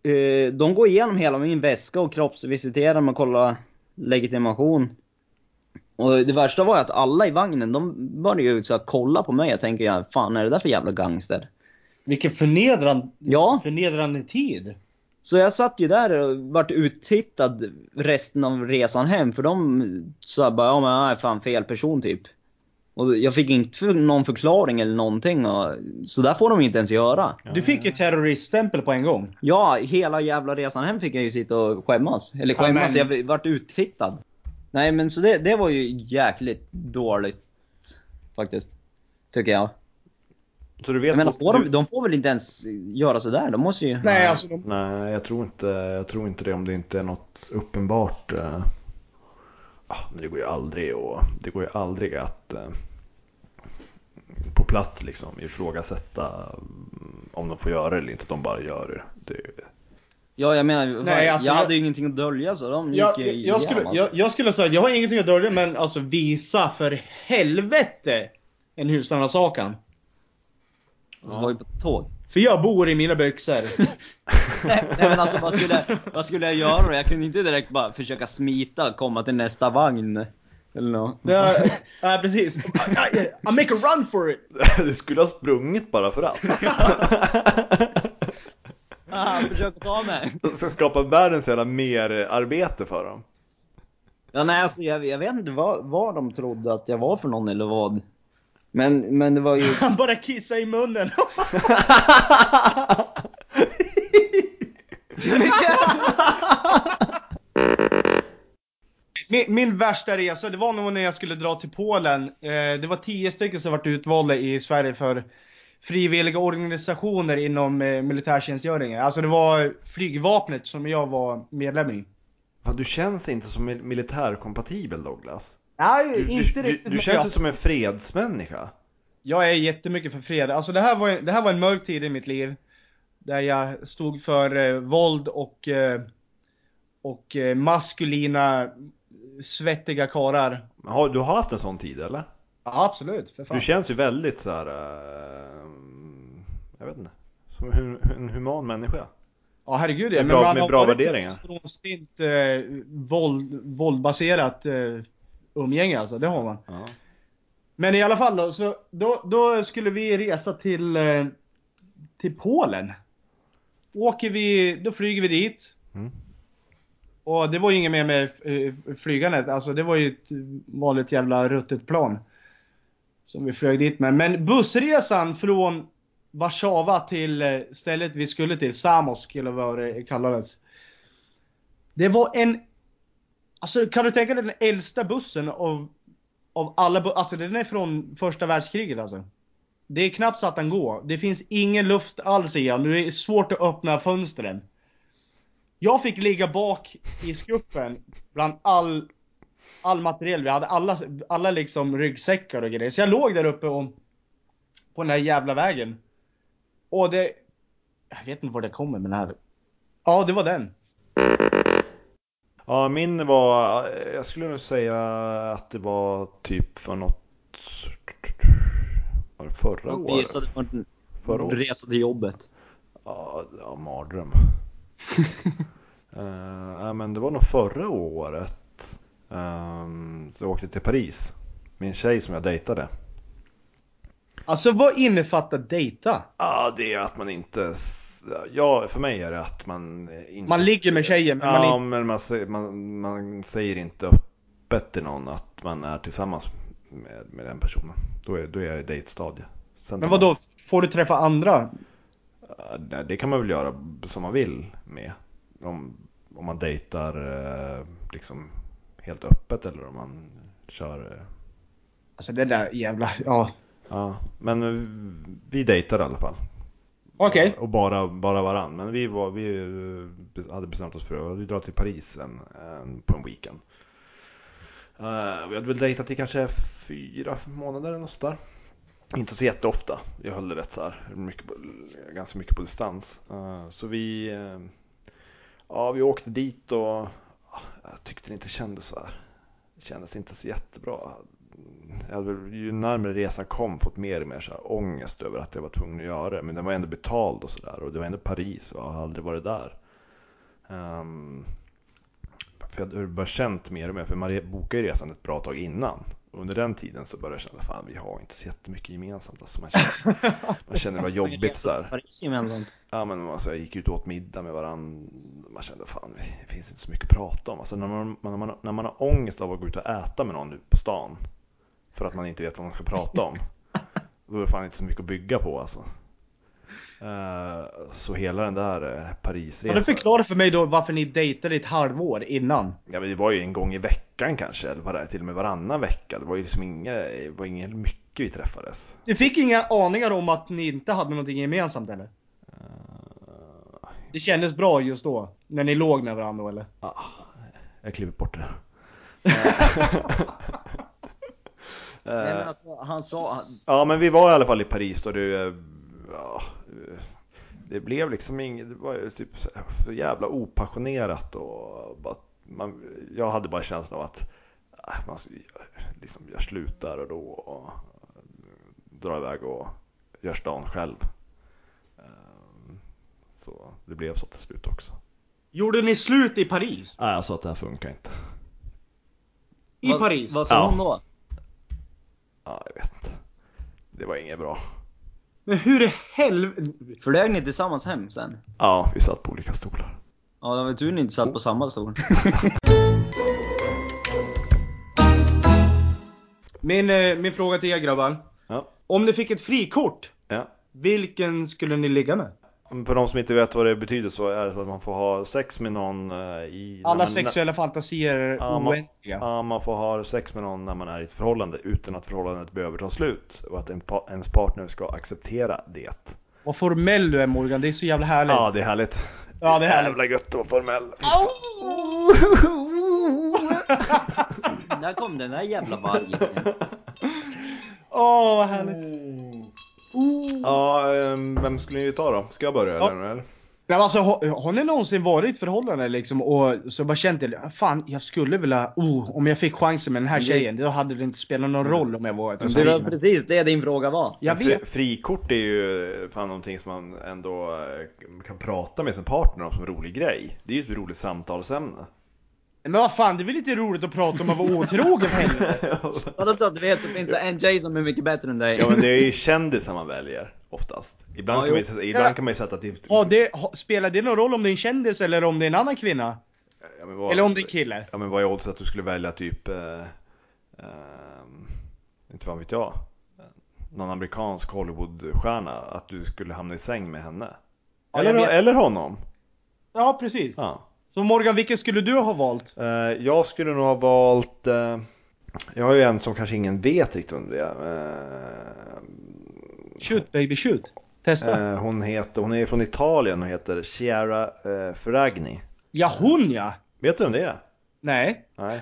Speaker 3: eh, de går igenom hela min väska och kroppsvisiterar mig och kollar legitimation. Och det värsta var ju att alla i vagnen, de började ju så här kolla på mig. Jag tänker, ja, fan är det där för jävla gangster?
Speaker 2: Vilken förnedran,
Speaker 3: Ja.
Speaker 2: förnedrande tid.
Speaker 3: Så jag satt ju där och vart uttittad resten av resan hem för de sa bara ja men jag är fan fel person typ. Och jag fick inte för någon förklaring eller någonting och, så där får de inte ens göra.
Speaker 2: Du fick ju terroriststämpel på en gång.
Speaker 3: Ja, hela jävla resan hem fick jag ju sitta och skämmas. Eller
Speaker 2: Ja,
Speaker 3: skämmas,
Speaker 2: men-
Speaker 3: jag vart uttittad. Nej men så det, det var ju jäkligt dåligt faktiskt. Tycker jag.
Speaker 1: Så du vet...
Speaker 3: Jag menar, får
Speaker 1: du...
Speaker 3: de, de får väl inte ens göra sådär? De måste ju...
Speaker 2: Nej, alltså de...
Speaker 1: Nej, jag tror, inte, jag tror inte det om det inte är något uppenbart. Eh... ah, men det går ju aldrig, och, det går ju aldrig att eh, på plats liksom, ifrågasätta mm, om de får göra det eller inte. Att de bara gör det. det
Speaker 3: Ja, jag menar,
Speaker 2: Nej,
Speaker 3: jag,
Speaker 2: alltså, jag-
Speaker 3: hade ju ingenting att dölja så de gick
Speaker 2: Jag,
Speaker 3: ju
Speaker 2: jag,
Speaker 3: igenom,
Speaker 2: jag, skulle,
Speaker 3: alltså.
Speaker 2: jag, jag skulle säga, jag har ingenting att dölja men alltså visa för helvete en husrannsakan.
Speaker 3: Och så var vi på tåg.
Speaker 2: För jag bor i mina (laughs) byxor.
Speaker 3: (laughs) Nej, nej men alltså vad skulle, vad skulle jag göra då? Jag kunde inte direkt bara försöka smita och komma till nästa vagn. Eller nå.
Speaker 2: Nej nej, precis. I, I, I make a run for it!
Speaker 1: (laughs) du skulle ha sprungit bara för (laughs) att.
Speaker 3: (laughs) Ah, försök att ta mig.
Speaker 1: Ska skapa världens jävla mer arbete för dem.
Speaker 3: Ja nej alltså jag, jag vet inte vad, vad de trodde att jag var för någon eller vad. Men, men det var (laughs) ju...
Speaker 2: Han bara kissar i munnen. Min, min värsta resa, det var nog när jag skulle dra till Polen. Eh, det var 10 stycken som vart utvalda i Sverige för, frivilliga organisationer inom eh, militärtjänstgöringen. Alltså det var flygvapnet som jag var medlem i.
Speaker 1: Fan, du känns inte som mil- militärkompatibel Douglas.
Speaker 2: Nej,
Speaker 1: Du,
Speaker 2: inte
Speaker 1: du,
Speaker 2: riktigt.
Speaker 1: du, du känns ju som en fredsmänniska.
Speaker 2: Jag är jättemycket för fred. Alltså det här, var, det här var en mörk tid i mitt liv. Där jag stod för eh, våld och, eh, och eh, maskulina svettiga karar.
Speaker 1: Har, du har haft en sån tid eller?
Speaker 2: Ja absolut, för fan.
Speaker 1: Du känns ju väldigt så här. eh, jag vet inte. Som hu- en human människa.
Speaker 2: ja herregud
Speaker 1: med
Speaker 2: ja.
Speaker 1: bra-
Speaker 2: man
Speaker 1: med
Speaker 2: har
Speaker 1: bra
Speaker 2: varit
Speaker 1: värderingar.
Speaker 2: ett Frånstint eh, våld, våldbaserat eh, umgänge alltså, det har man.
Speaker 1: Ja.
Speaker 2: Men i alla fall då, så då, då skulle vi resa till, eh, till Polen. Åker vi, då flyger vi dit.
Speaker 1: Mm.
Speaker 2: Och det var ju inget mer med eh, flygandet, alltså det var ju ett vanligt jävla ruttet plan. Som vi flög dit med. Men bussresan från Warszawa till eh, stället vi skulle till, Samosk eller vad det kallades. Det var en... Alltså kan du tänka dig den äldsta bussen av av alla bu- alltså den är från första världskriget alltså. Det är knappt så att den går. Det finns ingen luft alls i den. Det är svårt att öppna fönstren. Jag fick ligga bak i skuffen bland all, all materiel vi hade. Alla, alla liksom ryggsäckar och grejer. Så jag låg där uppe och, på den här jävla vägen. Och det... Jag vet inte var det kommer med den här. Ja, det var den.
Speaker 1: Ja, min var, jag skulle nog säga att det var typ för något, var det förra
Speaker 3: Jag
Speaker 1: året?
Speaker 3: gissade på en
Speaker 1: Förra året?
Speaker 3: resa till (laughs) jobbet.
Speaker 1: Ja, ja mardröm. Eh, ja, men det var nog förra året. Um, jag åkte till Paris. Min tjej som jag dejtade.
Speaker 2: Alltså vad innefattar dejta?
Speaker 1: Ja, det är att man inte, s- ja för mig är det att man inte
Speaker 2: Man ligger med tjejen men man
Speaker 1: Ja,
Speaker 2: inte...
Speaker 1: men man, sä- man, man säger inte öppet till någon att man är tillsammans med, med den personen. Då är, då är jag i dejtstadie. Sen
Speaker 2: Men vadå? Får du träffa andra?
Speaker 1: Ja, nej, Det kan man väl göra som man vill med. Om, om man dejtar eh, liksom helt öppet eller om man kör... eh,
Speaker 2: Alltså det där jävla, ja.
Speaker 1: Ja, men eh, vi dejtade i alla fall.
Speaker 2: Okej.
Speaker 1: Och bara, bara varann. Men vi, var, vi eh, hade bestämt oss för att vi drar till Paris en, en, på en weekend. Eh, vi hade väl dejtat i kanske fyra månader eller något sådär. Inte så jätteofta. Jag höll det rätt så här, mycket på, ganska mycket på distans. Eh, så vi, eh, ja, vi åkte dit och ah, jag tyckte det inte kändes så här. Det kändes inte så jättebra. Jag hade, väl- ju närmare resan kom fått mer och mer så här ångest över att jag var tvungen att göra det. Men den var ändå betald och sådär. Och det var ändå Paris och jag har aldrig varit där. Ehm, för jag hade bara känt mer och mer. För man bokade ju resan ett bra tag innan. Och under den tiden så började jag känna fan vi har inte så jättemycket gemensamt. Alltså man, känner, man känner det var jobbigt
Speaker 3: Resa till
Speaker 1: sådär.
Speaker 3: Paris gemensamt.
Speaker 1: Ja men alltså, jag gick ut och åt middag med varandra. Man kände fan det finns inte så mycket att prata om. Alltså, när, man, när, man, när man har ångest av att gå ut och äta med någon nu på stan. För att man inte vet vad man ska prata om. Då är det fan inte så mycket att bygga på alltså. Eh, så hela den där eh,
Speaker 2: Kan du
Speaker 1: Parisresan.
Speaker 2: förklara för mig då varför ni dejtade i ett halvår innan?
Speaker 1: Ja, men det var ju en gång i veckan kanske. Eller var det till och med varannan vecka. Det var ju liksom inga, det var inget mycket vi träffades.
Speaker 2: Du fick inga aningar om att ni inte hade någonting gemensamt eller? Det kändes bra just då, när ni låg med varandra eller?
Speaker 1: Ah, jag kliver bort det.
Speaker 3: Nej men alltså, han sa...
Speaker 1: Ja men vi var i alla fall i Paris då det, eh, ja, eh, det blev liksom inget, det var ju typ så här för jävla opassionerat och bara, man, jag hade bara känslan av att eh, man, ska- liksom, jag slutar och då och drar iväg och gör stan själv. Eh, Så det blev så till slut också.
Speaker 2: Gjorde ni slut i Paris?
Speaker 1: Nej jag sa att det här funkar inte.
Speaker 2: I
Speaker 3: vad,
Speaker 2: Paris?
Speaker 3: Vad sa
Speaker 1: Ja.
Speaker 3: hon då?
Speaker 1: Ja jag vet. Det var inget bra.
Speaker 2: Men hur i helvete?
Speaker 3: Flög ni tillsammans hem sen?
Speaker 1: Ja vi satt på olika stolar.
Speaker 3: Ja, det var tur ni inte satt på samma (laughs) stol.
Speaker 2: Min, eh, min fråga till er grabbar.
Speaker 1: Ja.
Speaker 2: Om ni fick ett frikort,
Speaker 1: Ja.
Speaker 2: vilken skulle ni ligga med?
Speaker 1: För de som inte vet vad det betyder så är det så att man får ha sex med någon eh, i... när
Speaker 2: Alla
Speaker 1: man-
Speaker 2: sexuella fantasier är
Speaker 1: Ja, man-
Speaker 2: oändliga.
Speaker 1: Ja, man får ha sex med någon när man är i ett förhållande utan att förhållandet behöver ta slut och att en pa- ens partner ska acceptera det.
Speaker 2: Vad formell du är Morgan, det är så jävla härligt.
Speaker 1: Ja, det är härligt.
Speaker 2: Ja, det är härligt.
Speaker 1: Jävla gött att vara formell.
Speaker 3: Där kom den där
Speaker 1: (laughs)
Speaker 3: jävla vargen.
Speaker 2: Åh, vad härligt.
Speaker 1: Ja, ehm, vem skulle ni ta då? Ska jag börja
Speaker 2: Ja.
Speaker 1: eller?
Speaker 2: Men alltså, har, har ni någonsin varit i ett förhållande liksom och så bara känt det, fan jag skulle vilja, oh, om jag fick chansen med den här
Speaker 3: Det-
Speaker 2: tjejen, då hade det inte spelat någon roll om jag var ett
Speaker 3: Det var
Speaker 2: förhållande.
Speaker 3: precis det din fråga var.
Speaker 2: Jag
Speaker 1: Fri-
Speaker 2: vet.
Speaker 1: Frikort är ju fan någonting som man ändå eh, kan prata med sin partner om som en rolig grej. Det är ju ett roligt samtalsämne.
Speaker 2: Men vad fan, det är väl lite roligt att prata om att vara otrogen för helvete?
Speaker 3: Bara så att alltså, du vet så finns det en tjej som är mycket bättre än dig.
Speaker 1: Ja men det är ju kändisar man väljer oftast. Ibland,
Speaker 3: Ja,
Speaker 1: kan, man
Speaker 3: jo.
Speaker 1: ju, ibland kan man ju sätta till...
Speaker 2: Ja, det, ha- spelar det någon roll om det är en kändis eller om det är en annan kvinna?
Speaker 1: Ja, men vad-
Speaker 2: Eller om det är en kille?
Speaker 1: Ja men vad är oddsen att du skulle välja typ, eh, ehm, inte fan vet jag, någon amerikansk Hollywoodstjärna, att du skulle hamna i säng med henne?
Speaker 2: Ja, jag
Speaker 1: eller,
Speaker 2: vet.
Speaker 1: eller honom!
Speaker 2: Ja, precis.
Speaker 1: Ja.
Speaker 2: Så Morgan, vilken skulle du ha valt?
Speaker 1: Eh, jag skulle nog ha valt, eh, jag har ju en som kanske ingen vet riktigt om det är.
Speaker 2: Shoot baby shoot. Testa.
Speaker 1: Eh, eh, hon, heter, hon är från Italien och heter Chiara eh, Ferragni.
Speaker 2: Ja, hon ja!
Speaker 1: Vet du vem det är?
Speaker 2: Nej. (laughs)
Speaker 1: Nej.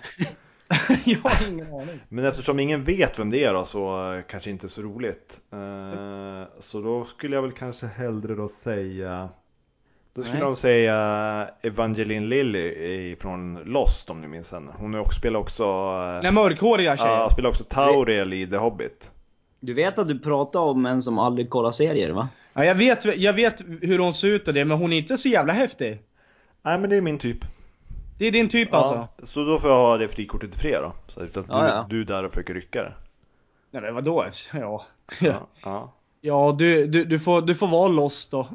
Speaker 2: jag har ingen aning.
Speaker 1: Men eftersom ingen vet vem det är då så eh, kanske inte så roligt. Eh, så då skulle jag väl kanske hellre då säga Då skulle
Speaker 3: Nej.
Speaker 1: jag säga Evangeline Lilly från Lost om ni minns henne. Hon är också, spelar också eh,
Speaker 2: Den mörkhåriga tjejen.
Speaker 1: ja, spelar också Tauriel i The Hobbit.
Speaker 3: Du vet att du pratar om en som aldrig kollar serier va?
Speaker 2: Ja, jag, vet, jag vet hur hon ser ut och det, men hon är inte så jävla häftig.
Speaker 1: Nej men det är min typ.
Speaker 2: Det är din typ alltså?
Speaker 1: Ja, så då får jag ha det frikortet till er då. Så utan att
Speaker 3: Ja,
Speaker 1: du,
Speaker 3: ja.
Speaker 1: du är där och försöker rycka det.
Speaker 2: Nej men vadå? (laughs) Ja.
Speaker 1: Ja, ja.
Speaker 2: Ja, du, du, du, får, du får vara loss då.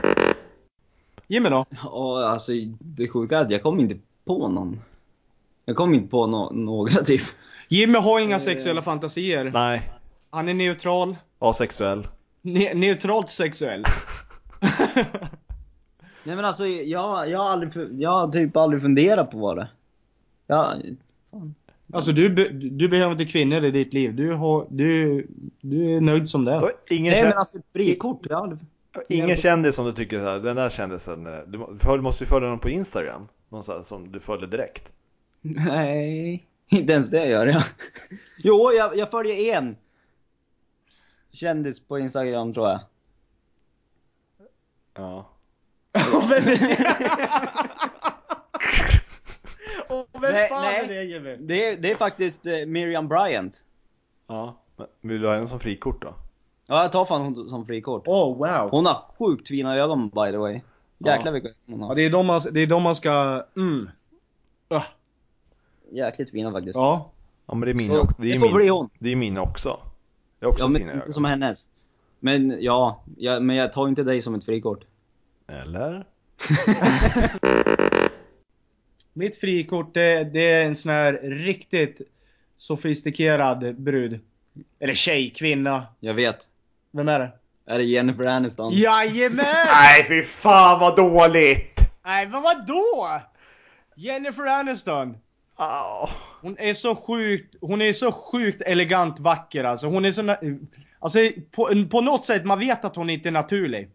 Speaker 2: (laughs) Jimmy då?
Speaker 3: Ja, alltså det sjuka är att jag kom inte på någon. Jag kom inte på nå- några typ.
Speaker 2: Jimmy har inga sexuella fantasier.
Speaker 1: Nej,
Speaker 2: Han är neutral.
Speaker 1: asexuell.
Speaker 2: Ne- neutralt sexuell.
Speaker 3: Nej men alltså jag, jag, har aldrig, fu- jag har typ aldrig funderat på vad det jag,
Speaker 2: Alltså du, be- du behöver inte kvinnor i ditt liv. Du, har, du, du är nöjd som det
Speaker 1: Då
Speaker 2: är.
Speaker 1: är Ingen
Speaker 3: Nej
Speaker 1: kär-
Speaker 3: men alltså ett frikort, jag har aldrig...
Speaker 1: Ingen kändis som du tycker så här, den där kändisen, eh, du må- följ- måste ju följa någon på Instagram. Någon så här, som du följer direkt.
Speaker 3: Nej, inte ens det gör jag. (laughs) Jo, jag, jag följer en kändis på Instagram tror jag.
Speaker 1: Ja.
Speaker 3: (laughs)
Speaker 2: Och
Speaker 3: Nej, nej.
Speaker 2: Jimmy?
Speaker 3: Det är, det är faktiskt eh, Miriam Bryant.
Speaker 1: ja. Men vill du ha den som frikort då?
Speaker 3: Ja, jag tar fan hon som frikort.
Speaker 2: Oh wow.
Speaker 3: Hon har sjukt fina ögon by the way. Jäklar
Speaker 1: Ja.
Speaker 3: vilka ögon hon
Speaker 2: Ja,
Speaker 3: har.
Speaker 2: det är de man, det är de man ska... Mm. Ah,
Speaker 3: Jäkligt fina faktiskt.
Speaker 2: Ja.
Speaker 1: Ja men det är min
Speaker 3: Så,
Speaker 1: också. är
Speaker 3: det får
Speaker 1: min,
Speaker 3: bli hon.
Speaker 1: Det är min också. Jag har också
Speaker 3: ja, men
Speaker 1: fina
Speaker 3: inte
Speaker 1: ögon.
Speaker 3: som hennes. Men ja, jag, men jag tar inte dig som
Speaker 2: (laughs)
Speaker 3: ett frikort.
Speaker 1: Eller?
Speaker 2: Mitt frikort det, det är en sån här riktigt sofistikerad brud. Eller tjej, kvinna.
Speaker 3: Jag vet.
Speaker 2: Vem är det?
Speaker 3: Är det Jennifer Aniston? (laughs)
Speaker 2: Jajamän!
Speaker 1: Nej fy fan vad dåligt!
Speaker 2: Nej men vadå? Jennifer Aniston.
Speaker 1: Au.
Speaker 2: Hon är så sjukt, hon är så sjukt elegant vacker alltså. Hon är så na- Alltså på, på något sätt man vet att hon inte är naturlig.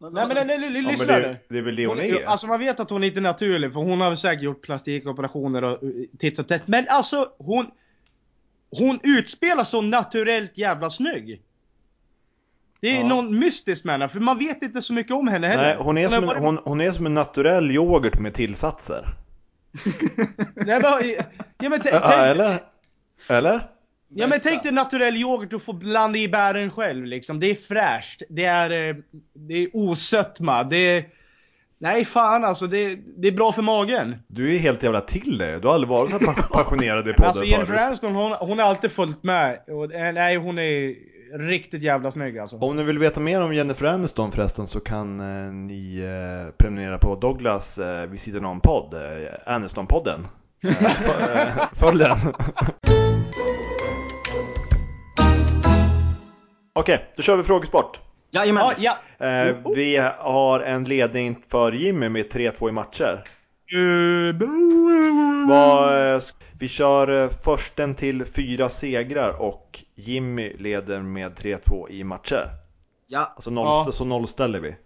Speaker 2: Nej men nej, nej,
Speaker 1: Ja,
Speaker 2: lyssna
Speaker 1: men
Speaker 2: nu.
Speaker 1: det, det är väl det hon är?
Speaker 2: Alltså man vet att hon inte är naturlig för hon har säkert gjort plastikoperationer och eh, titt som tätt. Men alltså hon... Hon utspelar så naturellt jävla snygg. Det är
Speaker 1: Ja.
Speaker 2: någon mystisk med henne för man vet inte så mycket om henne heller.
Speaker 1: Nej, hon är, som
Speaker 2: bara-
Speaker 1: en, hon, hon är som en naturell yoghurt med tillsatser.
Speaker 2: Nej, men, ja, men, t-
Speaker 1: (laughs) Ja,
Speaker 2: tänk,
Speaker 1: eller? Eller?
Speaker 2: ja, men tänk dig naturell yoghurt och få blanda i bären själv liksom. Det är fräscht. Det är, eh, det är osötma. Det är... Nej fan alltså det, det är bra för magen.
Speaker 1: Du är helt jävla till dig. Du har aldrig varit så här pa- passionerad i
Speaker 2: Men
Speaker 1: podden
Speaker 2: alltså Jennifer
Speaker 1: förut.
Speaker 2: Aniston hon, hon har alltid följt med. Och, eh, nej hon är riktigt jävla snygg alltså.
Speaker 1: Om ni vill veta mer om Jennifer Aniston förresten så kan eh, ni eh, prenumerera på Douglas eh, vid sidan om podd, eh, Aniston-podden. Eh, f- eh, Följ den! Okej, Okej, då kör vi frågesport.
Speaker 3: Jajamän!
Speaker 2: Ja, ja.
Speaker 1: Eh, vi har en ledning för Jimmy med 3-2 i matcher. Vad, eh, sk- vi kör eh, försten till fyra segrar och Jimmy leder med 3-2 i matcher.
Speaker 3: Ja,
Speaker 1: Alltså noll,
Speaker 2: Ja.
Speaker 1: så nollställer vi.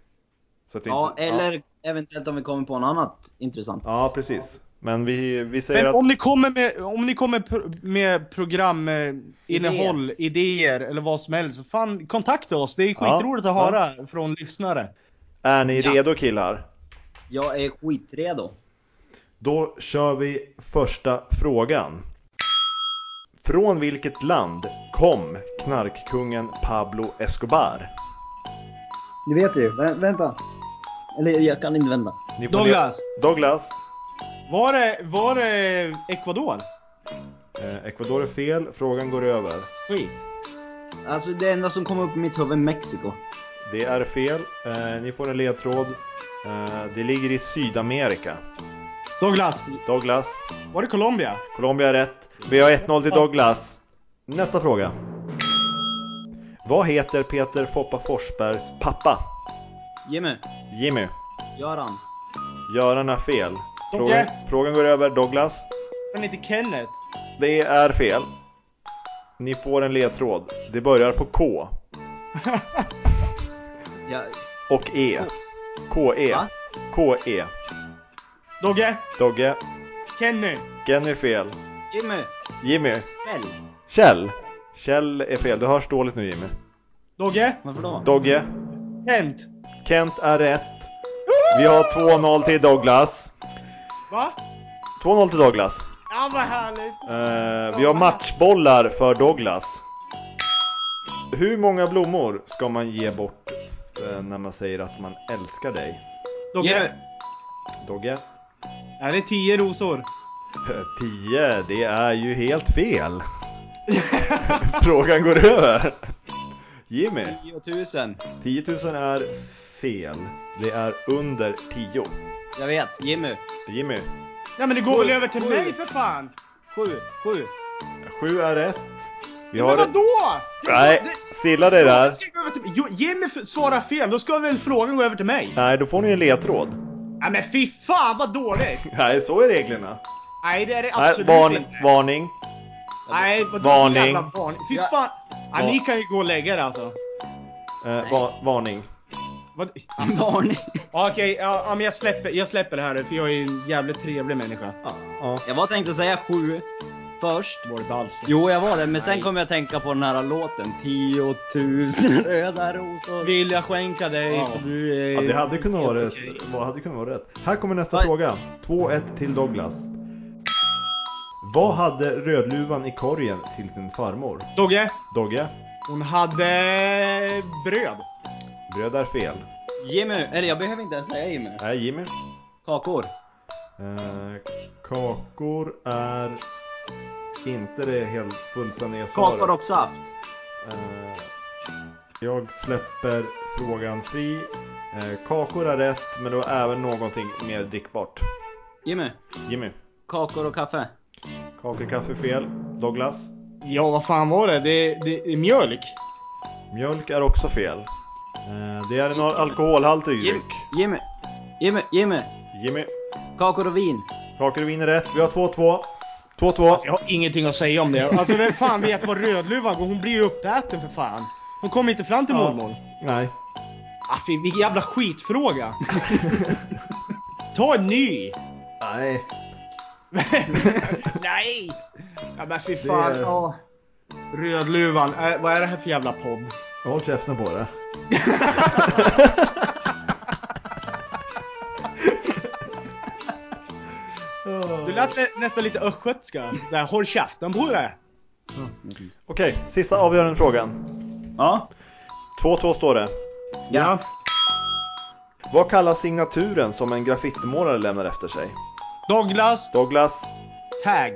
Speaker 1: Så att det
Speaker 3: ja
Speaker 1: inte-
Speaker 3: eller eventuellt om vi kommer på något annat intressant.
Speaker 1: Ja, precis. Men vi, vi säger
Speaker 2: Men
Speaker 1: att...
Speaker 2: om ni kommer med, om ni kommer pro- med programinnehåll, idéer eller vad som helst, så fan kontakta oss. Det är
Speaker 1: Ja,
Speaker 2: skitroligt att
Speaker 1: ja.
Speaker 2: höra från lyssnare.
Speaker 1: Är ni
Speaker 3: Ja.
Speaker 1: redo killar?
Speaker 3: Jag är skitredo.
Speaker 1: Då kör vi första frågan. Från vilket land kom knarkkungen Pablo Escobar?
Speaker 5: Du vet ju. Vä- vänta.
Speaker 3: Eller jag kan inte vända.
Speaker 1: Ni får
Speaker 2: Douglas,
Speaker 1: le- Douglas.
Speaker 2: var det, var det Ecuador?
Speaker 1: Eh, Ecuador är fel, frågan går över.
Speaker 2: Skit.
Speaker 3: Alltså det enda som kom upp i mitt huvud är Mexiko.
Speaker 1: Det är fel, eh, ni får en ledtråd. Eh, det ligger i Sydamerika.
Speaker 2: Douglas,
Speaker 1: Douglas.
Speaker 2: var det Colombia?
Speaker 1: Colombia är rätt. Vi har 1-0 till Douglas. Nästa fråga. Vad heter Peter Foppa Forsbergs pappa?
Speaker 3: Jimmy,
Speaker 1: Jimmy.
Speaker 3: Göran.
Speaker 1: Göran är fel. Frågan,
Speaker 2: Dogge.
Speaker 1: frågan går över Douglas.
Speaker 2: Men inte Kenneth?
Speaker 1: Det är fel. Ni får en ledtråd. Det börjar på K
Speaker 3: Ja,
Speaker 1: och E. K-E.
Speaker 3: Va?
Speaker 1: K-E.
Speaker 2: Dogge?
Speaker 1: E. Dogge.
Speaker 2: Kenny?
Speaker 1: Kenny är fel.
Speaker 3: Jimmy,
Speaker 1: Jimmy.
Speaker 3: Kjell.
Speaker 1: Kjell. Kjell är fel. Du hörs dåligt nu Jimmy.
Speaker 2: Dogge?
Speaker 3: Varför då?
Speaker 1: Dogge.
Speaker 2: Kent?
Speaker 1: Kent är rätt. Vi har 2-0 till Douglas.
Speaker 2: Va?
Speaker 1: 2-0 till Douglas.
Speaker 2: Ja, vad härligt!
Speaker 1: Eh, vi har matchbollar för Douglas. Hur många blommor ska man ge bort eh, när man säger att man älskar dig?
Speaker 2: Dogge?
Speaker 3: Jimmy.
Speaker 1: Dogge? (laughs)
Speaker 2: Är det tio rosor?
Speaker 1: 10, det är ju helt fel. (laughs) Frågan går över. Jimmy,
Speaker 3: 10 000.
Speaker 1: 10 000 är fel. Det är under 10.
Speaker 3: Jag vet. Jimmy.
Speaker 1: Jimmy,
Speaker 2: Nej men det går väl över till
Speaker 3: Sju.
Speaker 2: mig för fan!
Speaker 3: 7. 7.
Speaker 1: 7 är rätt. Vi
Speaker 2: Men
Speaker 1: har...
Speaker 2: vadå? Det-
Speaker 1: Nej,
Speaker 2: det-
Speaker 1: stilla dig där.
Speaker 2: Frågan ska gå över till mig. Jo, Jimmy f- svarar fel, då ska väl frågan gå över till mig?
Speaker 1: Nej, då får ni en ledtråd.
Speaker 2: Nej men fy fan vad dåligt!
Speaker 1: Nej, så är reglerna.
Speaker 2: Nej det är det
Speaker 1: Nej,
Speaker 2: absolut
Speaker 1: varn,
Speaker 2: inte.
Speaker 1: varning.
Speaker 2: Nej vad
Speaker 1: Varning.
Speaker 2: jävla varning. Fy
Speaker 3: Ja.
Speaker 2: fan. Ja,
Speaker 1: Va-
Speaker 2: ni kan ju gå och lägga det alltså.
Speaker 1: Eh, va, varning.
Speaker 2: Vad...
Speaker 1: Alltså,
Speaker 3: Varning.
Speaker 2: Ja, Okej, ja, ja, men jag släpper, jag släpper det här för jag är ju en jävligt trevlig människa.
Speaker 1: Ja, ja.
Speaker 3: Jag var tänkt att säga 7 först.
Speaker 2: Det var det inte alls.
Speaker 3: Jo, jag var det, men sen
Speaker 2: Nej.
Speaker 3: kom jag att tänka på den här låten. 10 000 röda rosor.
Speaker 2: Vill jag skänka dig
Speaker 3: Ja.
Speaker 2: för du är...
Speaker 1: Ja, det hade kunnat vara,
Speaker 2: helt okej.
Speaker 1: vad hade kunnat vara rätt. Här kommer nästa
Speaker 3: Nej.
Speaker 1: fråga. 2-1 till Douglas. Vad hade Rödluvan i korgen till sin farmor?
Speaker 2: Dogge,
Speaker 1: Dogge?
Speaker 2: hon hade bröd.
Speaker 1: Bröd är fel.
Speaker 3: Jimmy. Eller jag behöver inte ens säga Jimmy.
Speaker 1: Nej, Jimmy.
Speaker 3: Kakor.
Speaker 1: Eh, kakor är inte det helt fullständiga svaret.
Speaker 3: Kakor och saft.
Speaker 1: Eh, jag släpper frågan fri. Eh, kakor är rätt, men det var även någonting mer drickbart.
Speaker 3: Jimmy.
Speaker 1: Jimmy.
Speaker 3: Kakor och kaffe.
Speaker 1: Kakor, kaffe, fel. Douglas.
Speaker 2: Ja vad fan var det? Det, det är mjölk.
Speaker 1: Mjölk är också fel. Eh, Det är en al- alkoholhaltig dryck.
Speaker 3: Jimmy. Jimmy. Jimmy.
Speaker 1: Jimmy.
Speaker 3: Kakor och vin.
Speaker 1: Kakor vinner rätt. Vi har 2-2. 2-2.
Speaker 2: Alltså, jag har ingenting att säga om det. Alltså vem fan vet vad Rödluvan går? Hon blir ju uppäten för fan. Hon kommer inte fram till
Speaker 1: Ja.
Speaker 2: mormor.
Speaker 1: Nej.
Speaker 2: Ah, fy, vilken jävla skitfråga. Ta en ny! (laughs)
Speaker 1: Nej.
Speaker 2: Nej! Ja men fy fan.
Speaker 1: Det är-
Speaker 2: ja. Rödluvan, eh, vad är det här för jävla podd?
Speaker 1: Håll käften på det.
Speaker 2: Du lät lä- nästan lite östgötska. Såhär, håll käften på det!
Speaker 1: Okej, sista avgörande frågan.
Speaker 3: Ja.
Speaker 1: 2-2 står det.
Speaker 3: Ja.
Speaker 1: Vad kallas signaturen som en graffitimålare lämnar efter sig?
Speaker 2: Douglas,
Speaker 1: Douglas,
Speaker 2: tag.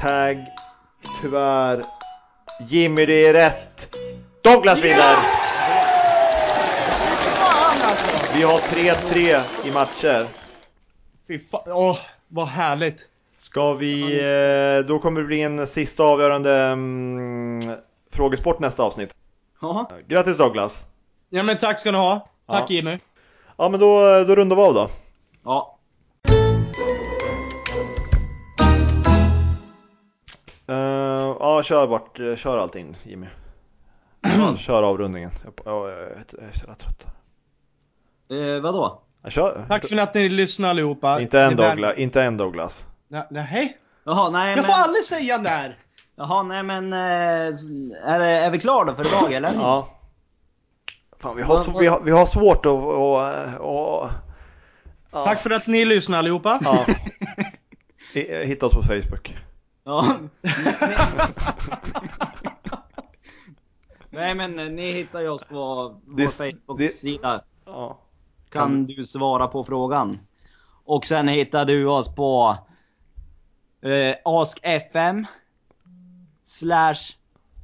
Speaker 1: tag, tyvärr. Jimmy, det är rätt! Douglas vinner!
Speaker 2: Fan alltså!
Speaker 1: Vi har 3-3 i matcher.
Speaker 2: Fy fan, åh, vad härligt.
Speaker 1: Ska vi... eh, Då kommer det bli en sista avgörande mm, frågesport nästa avsnitt.
Speaker 3: Ja.
Speaker 1: Grattis Douglas!
Speaker 2: Ja men tack ska ni ha. Tack
Speaker 1: Ja.
Speaker 2: Jimmy.
Speaker 1: Ja men då, då rundar vi av då.
Speaker 3: ja.
Speaker 1: Eh, ja, kör bort, eh, kör allting Jimmy.
Speaker 2: Mm.
Speaker 1: Ja, kör avrundningen. Jag, jag, jag, jag är så jävla trött.
Speaker 3: Eh, vadå?
Speaker 1: Ja, Kör.
Speaker 2: Tack för att ni lyssnade allihopa.
Speaker 1: Inte en
Speaker 2: Ni är
Speaker 1: Douglas, inte en Douglas.
Speaker 2: värd- Nä- Nej.
Speaker 3: Jaha, nej
Speaker 2: Jag får
Speaker 3: men...
Speaker 2: aldrig säga när.
Speaker 3: Jaha, nej men... eh, Är, det- är vi klara då för idag eller?
Speaker 1: Ja. Fan, vi har, sv- vi har, vi har svårt att... att, att, att
Speaker 2: Tack för att ni lyssnade allihopa. (laughs)
Speaker 1: Ja. I- Hitta oss på Facebook.
Speaker 3: Ja. (laughs) Nej men eh, ni hittar ju oss på vår
Speaker 1: Det-
Speaker 3: Facebook-sida.
Speaker 1: Ja.
Speaker 3: Kan du svara på frågan? Och sen hittar du oss på eh, AskFM slash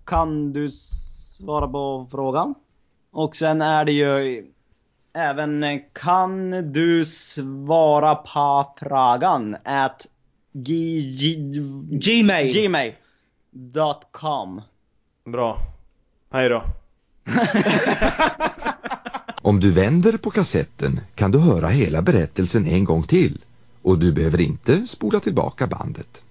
Speaker 3: kan du svara på frågan? Och sen är det ju även eh, kan du svara på frågan at g- g-
Speaker 2: Gmail.
Speaker 3: gmail.com
Speaker 1: Bra. Hej då.
Speaker 4: Om du vänder på kassetten kan du höra hela berättelsen en gång till och du behöver inte spola tillbaka bandet.